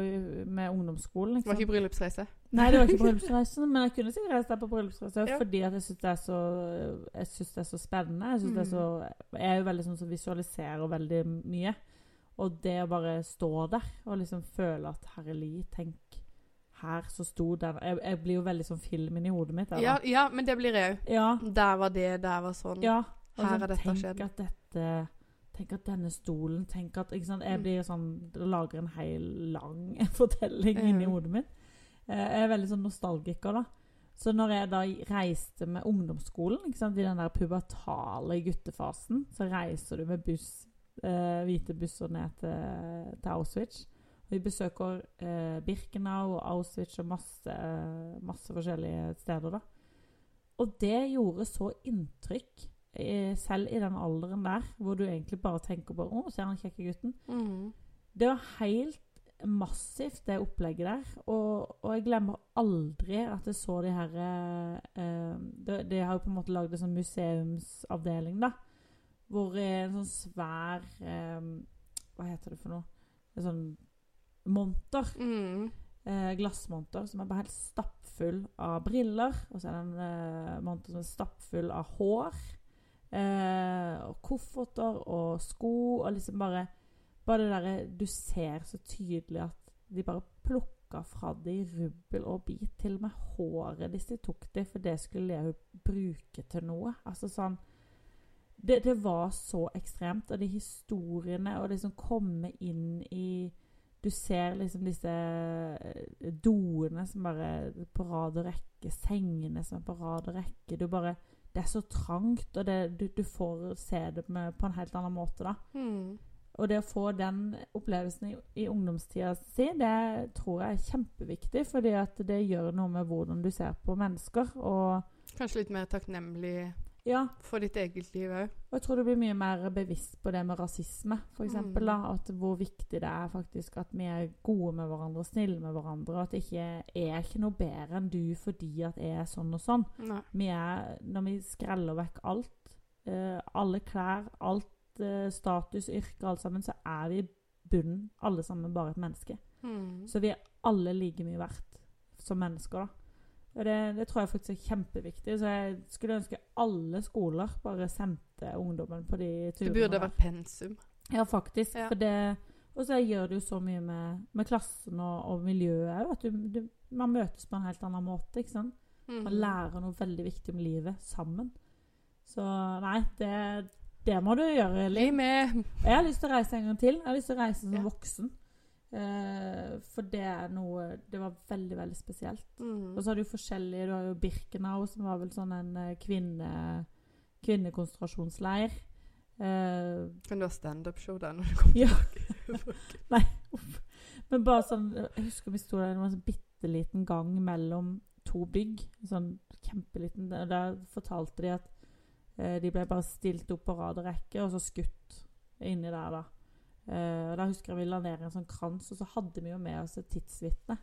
med ungdomsskolen. Det var ikke bryllupsreise. Nei, det var ikke bryllupsreisen, men jeg kunne sikkert reist der på bryllupsreise Ja. fordi at jeg syns det, er så- jeg synes det er så spennende. Jeg, synes det er så, Mm. jeg er jo veldig sånn som visualiserer veldig mye. Og det å bare stå der og liksom føle at herlig, tenk her så sto den jeg, jeg blir jo veldig sånn film inni hodet mitt. Ja, Eller? ja, men det blir jeg òg. Ja. Der var det, der var sånn. ja. Og Her sånn, har dette tenk skjedd. At dette, tenk at denne stolen Tenk at ikke sant? Jeg Mm. blir sånn det lager en hel lang fortelling inni Mhm. hodet mitt. Eh, Jeg er veldig sånn nostalgiker, da. Så når jeg da reiste med ungdomsskolen, ikke sant? i den der pubertale guttefasen, så reiser du med buss, eh, hvite busser ned til, til Auschwitz. Og Vi besøker eh, Birkenau og Auschwitz og masse, masse forskjellige steder, da. Og det gjorde så inntrykk, eh, selv i den alderen der, hvor du egentlig bare tenker på 'Å, ser han kjekke gutten?' Mhm. Det var helt massivt, det opplegget der. Og, og jeg glemmer aldri at jeg så de her eh, eh, de, de har jo på en måte lagd en sånn museumsavdeling, da. Hvor eh, en sånn svær eh, Hva heter det for noe? En sånn monter Mhm. eh, glassmonter som er bare helt stappfull av briller. Og så er det en eh, monter som er stappfull av hår. Eh, og kofferter og sko og liksom bare Bare det derre du ser så tydelig at de bare plukka fra de rubbel og bit. Til og med håret hvis de tok det, for det skulle jeg jo bruke til noe. Altså sånn det, det var så ekstremt, og de historiene og det som kommer inn i du ser liksom disse eh, doene som bare er på rad og rekke, sengene som er på rad og rekke. Du bare Det er så trangt, og det, du, du får se det med, på en helt annen måte, da. Mhm. Og det å få den opplevelsen i, i ungdomstida si, det tror jeg er kjempeviktig. Fordi at det gjør noe med hvordan du ser på mennesker. Og Kanskje litt mer takknemlig ja, for ditt eget liv òg. Og jeg tror du blir mye mer bevisst på det med rasisme, f.eks. Mm. da, At hvor viktig det er faktisk at vi er gode med hverandre, snille med hverandre. Og at det ikke jeg er ikke noe bedre enn du fordi at jeg er sånn og sånn. Vi er, når vi skreller vekk alt, eh, alle klær, alt, eh, status, yrke, alt sammen, så er vi i bunnen alle sammen bare et menneske. Mhm. Så vi er alle like mye verdt som mennesker, da. Og det, det tror jeg faktisk er kjempeviktig. Så jeg skulle ønske alle skoler bare sendte ungdommen på de Det turene. burde der. vært pensum. Ja, faktisk. Ja. For det, og så gjør det jo så mye med, med klassen og, og miljøet òg. At du, du, man møtes på en helt annen måte. ikke sant? Mhm. Man lærer noe veldig viktig om livet sammen. Så nei, det, det må du gjøre, Liv. Bli med! Jeg har lyst til å reise en gang til. Jeg har lyst til å reise som Ja. voksen. Eh, for det er noe Det var veldig, veldig spesielt. Og Mhm. så har du jo forskjellige Du har jo Birkenau, som var vel sånn en eh, kvinne, kvinnekonsentrasjonsleir. Eh, Mhm. Kan du ha standup-show der når du kommer Ja. tilbake? men bare sånn Jeg husker vi sto der, det var en sånn bitte liten gang mellom to bygg. En Sånn kjempeliten. Der, der fortalte de at eh, de ble bare stilt opp på rad og rekke, og så skutt inni der, da. Eh, og Da husker jeg vi la ned en sånn krans, og så hadde vi jo med oss et tidsvitne.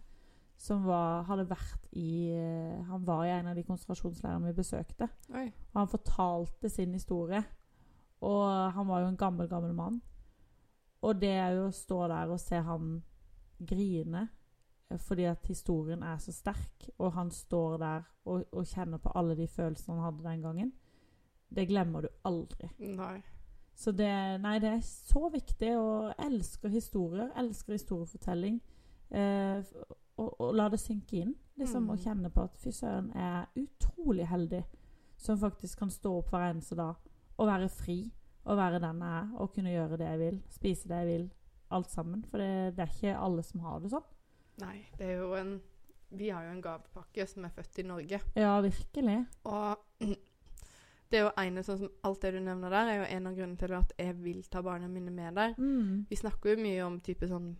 Som var, hadde vært i eh, Han var i en av de konsentrasjonsleirene vi besøkte. Oi. Og han fortalte sin historie. Og han var jo en gammel, gammel mann. Og det er jo å stå der og se han grine eh, fordi at historien er så sterk, og han står der og, og kjenner på alle de følelsene han hadde den gangen, det glemmer du aldri. Nei. Så det, nei, det er så viktig, og jeg elsker historier. Elsker historiefortelling. Eh, f- og, og la det synke inn. liksom, Mm. Og kjenne på at fy søren, jeg er utrolig heldig som faktisk kan stå opp hver eneste dag og være fri. Og være den jeg er, og kunne gjøre det jeg vil. Spise det jeg vil. Alt sammen. For det, det er ikke alle som har det sånn. Nei, det er jo en Vi har jo en gavepakke som er født i Norge. Ja, virkelig. Og det er jo ene, sånn som alt det du nevner der, er jo en av grunnene til at jeg vil ta barna mine med der. Mm. Vi snakker jo mye om type sånn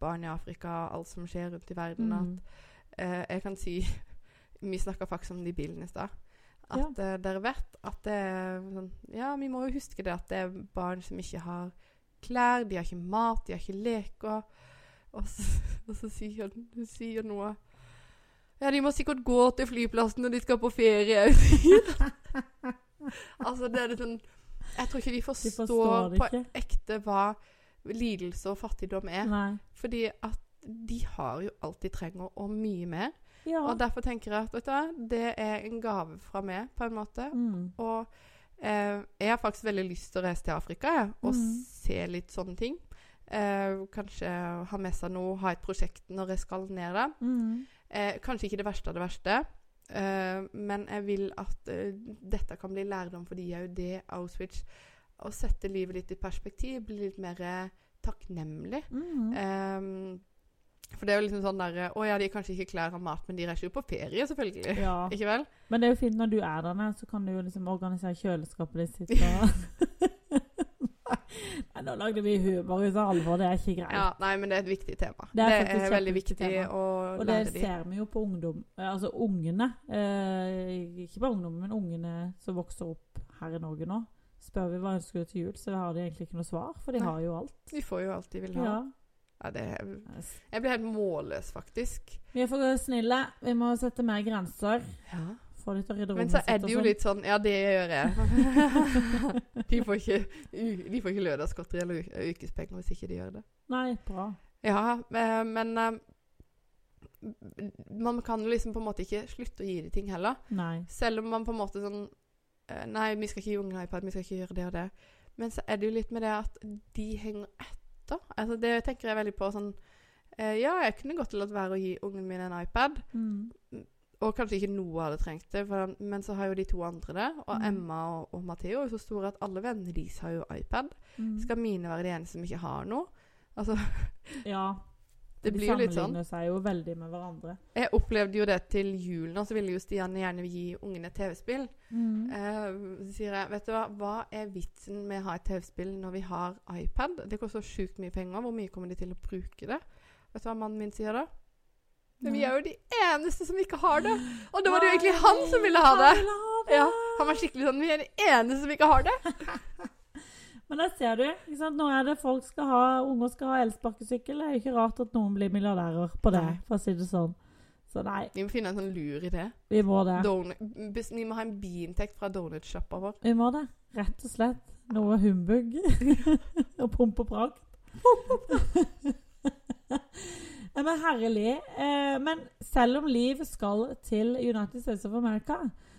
barn i Afrika, alt som skjer rundt i verden. Mm. At eh, jeg kan si Vi snakka faktisk om det i bilen i stad. At eh, dere vet at det er sånn Ja, vi må jo huske det at det er barn som ikke har klær, de har ikke mat, de har ikke leker. Og så, og så sier hun- hun sier noe Ja, de må sikkert gå til flyplassen når de skal på ferie. altså, det er litt sånn Jeg tror ikke de De forstår, forstår det på ikke. ekte hva lidelse og fattigdom er. Nei. Fordi at de har jo alt de trenger, og mye mer. Ja. Og derfor tenker jeg at vet du hva, det er en gave fra meg, på en måte. mm. Og eh, jeg har faktisk veldig lyst til å reise til Afrika jeg, og Mhm. se litt sånne ting. Eh, kanskje ha med seg noe, ha et prosjekt når jeg skal ned der. Mm. Eh, kanskje ikke det verste av det verste, eh, men jeg vil at eh, dette kan bli lærdom for de òg, det Auschwitz. Å sette livet litt i perspektiv, bli litt mer eh, takknemlig. Mm. Eh, for det er jo liksom sånn derre Å ja, de har kanskje ikke klær og mat, men de reiser jo på ferie, selvfølgelig. Ja. Ikke vel? Men det er jo fint når du er der nede, så kan du jo liksom organisere kjøleskapet ditt sitt og Nei, nå lagde vi humor ut av alvor, det er ikke greit. Ja, nei, men det er et viktig tema. Det er Det er, faktisk et veldig kjempeviktig viktig tema. å og det lære de. ser vi jo på ungdom, eh, altså ungene. Eh, ikke bare ungdommen, men ungene som vokser opp her i Norge nå. Spør vi hva ønsker du til jul, så har de egentlig ikke noe svar, for de Nei. har jo alt. De får jo alt de vil ha. Ja. Ja, det er, jeg blir helt målløs, faktisk. Vi er for snille. Vi må sette mer grenser. Ja. Få de til å rydde Men rommet så sitt er det og jo sånn. litt sånn Ja, det gjør jeg. de får ikke, u- de får ikke lørdagsgodteri eller u- ukespenger hvis ikke de gjør det. Nei, bra. Ja, eh, men eh, Man kan jo liksom på en måte ikke slutte å gi de ting heller. Nei. Selv om man på en måte sånn eh, Nei, vi skal ikke gi ungene iPad, vi skal ikke gjøre det og det. Men så er det jo litt med det at de henger etter. Altså, det tenker jeg veldig på sånn eh, Ja, jeg kunne godt latt være å gi ungen min en iPad. Mm. Og kanskje ikke Noah hadde trengt det, for han, men så har jo de to andre det. Og Mm. Emma og, og Matheo er jo så store at alle vennene deres har jo iPad. Mm. Skal mine være de eneste som ikke har noe? Altså, Ja. det De blir jo litt sånn. sammenligner seg jo veldig med hverandre. Jeg opplevde jo det til julen, og så ville jo Stian gjerne gi ungene et TV-spill. Eh, så sier jeg, vet du hva, hva er vitsen med å ha et TV-spill når vi har iPad? Det koster sjukt mye penger, hvor mye kommer de til å bruke det? Vet du hva mannen min sier da? Men vi er jo de eneste som ikke har det! Og da var det jo egentlig han som ville ha det! Han ville ha det! Ja, han var skikkelig sånn Vi er de eneste som ikke har det. Men der ser du. Ikke sant? Nå er det folk skal ha, unger skal ha elsparkesykkel. Det er jo ikke rart at noen blir milliardærer på det, Nei. for å si det sånn. Så nei, Vi må finne en sånn lur idé. vi må det. Donut- bes- Vi må ha en biinntekt fra donutsjappa vår. Vi må det. Rett og slett. Noe humbug og pomp og prakt. Nei, Men herlig. Eh, Men selv om Liv skal til United States of America,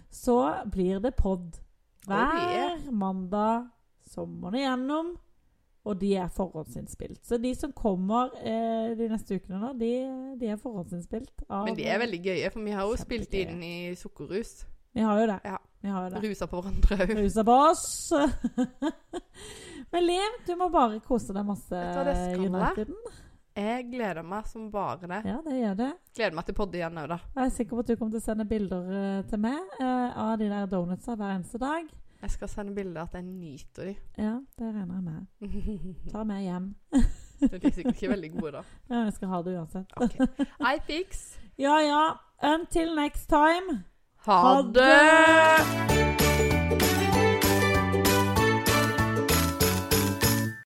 så blir det pod hver mandag sommeren igjennom. Og de er forhåndsinnspilt. Så de som kommer eh, de neste ukene, nå, de, de er forhåndsinnspilt. av- Men de er veldig gøye, for vi har jo spilt Kjempegøye. inn i sukkerrus. Vi har jo det. Ja. Vi har jo det. Rusa på hverandre òg. Rusa på oss. Men Liv, du må bare kose deg masse Vet du hva det skal jeg? Uniteden. Jeg gleder meg som bare det. Ja, det gjør det. Gleder meg til podde igjen òg, da. Jeg er sikker på at du kommer til å sende bilder eh, til meg eh, av de der donutsa hver eneste dag. Jeg skal sende bilder av at jeg nyter de. Ja, det regner jeg med. De Ta med hjem. er sikkert ikke veldig gode, da. Ja, jeg skal ha det uansett. OK. I fix. Ja ja. Until next time. Ha Ha det!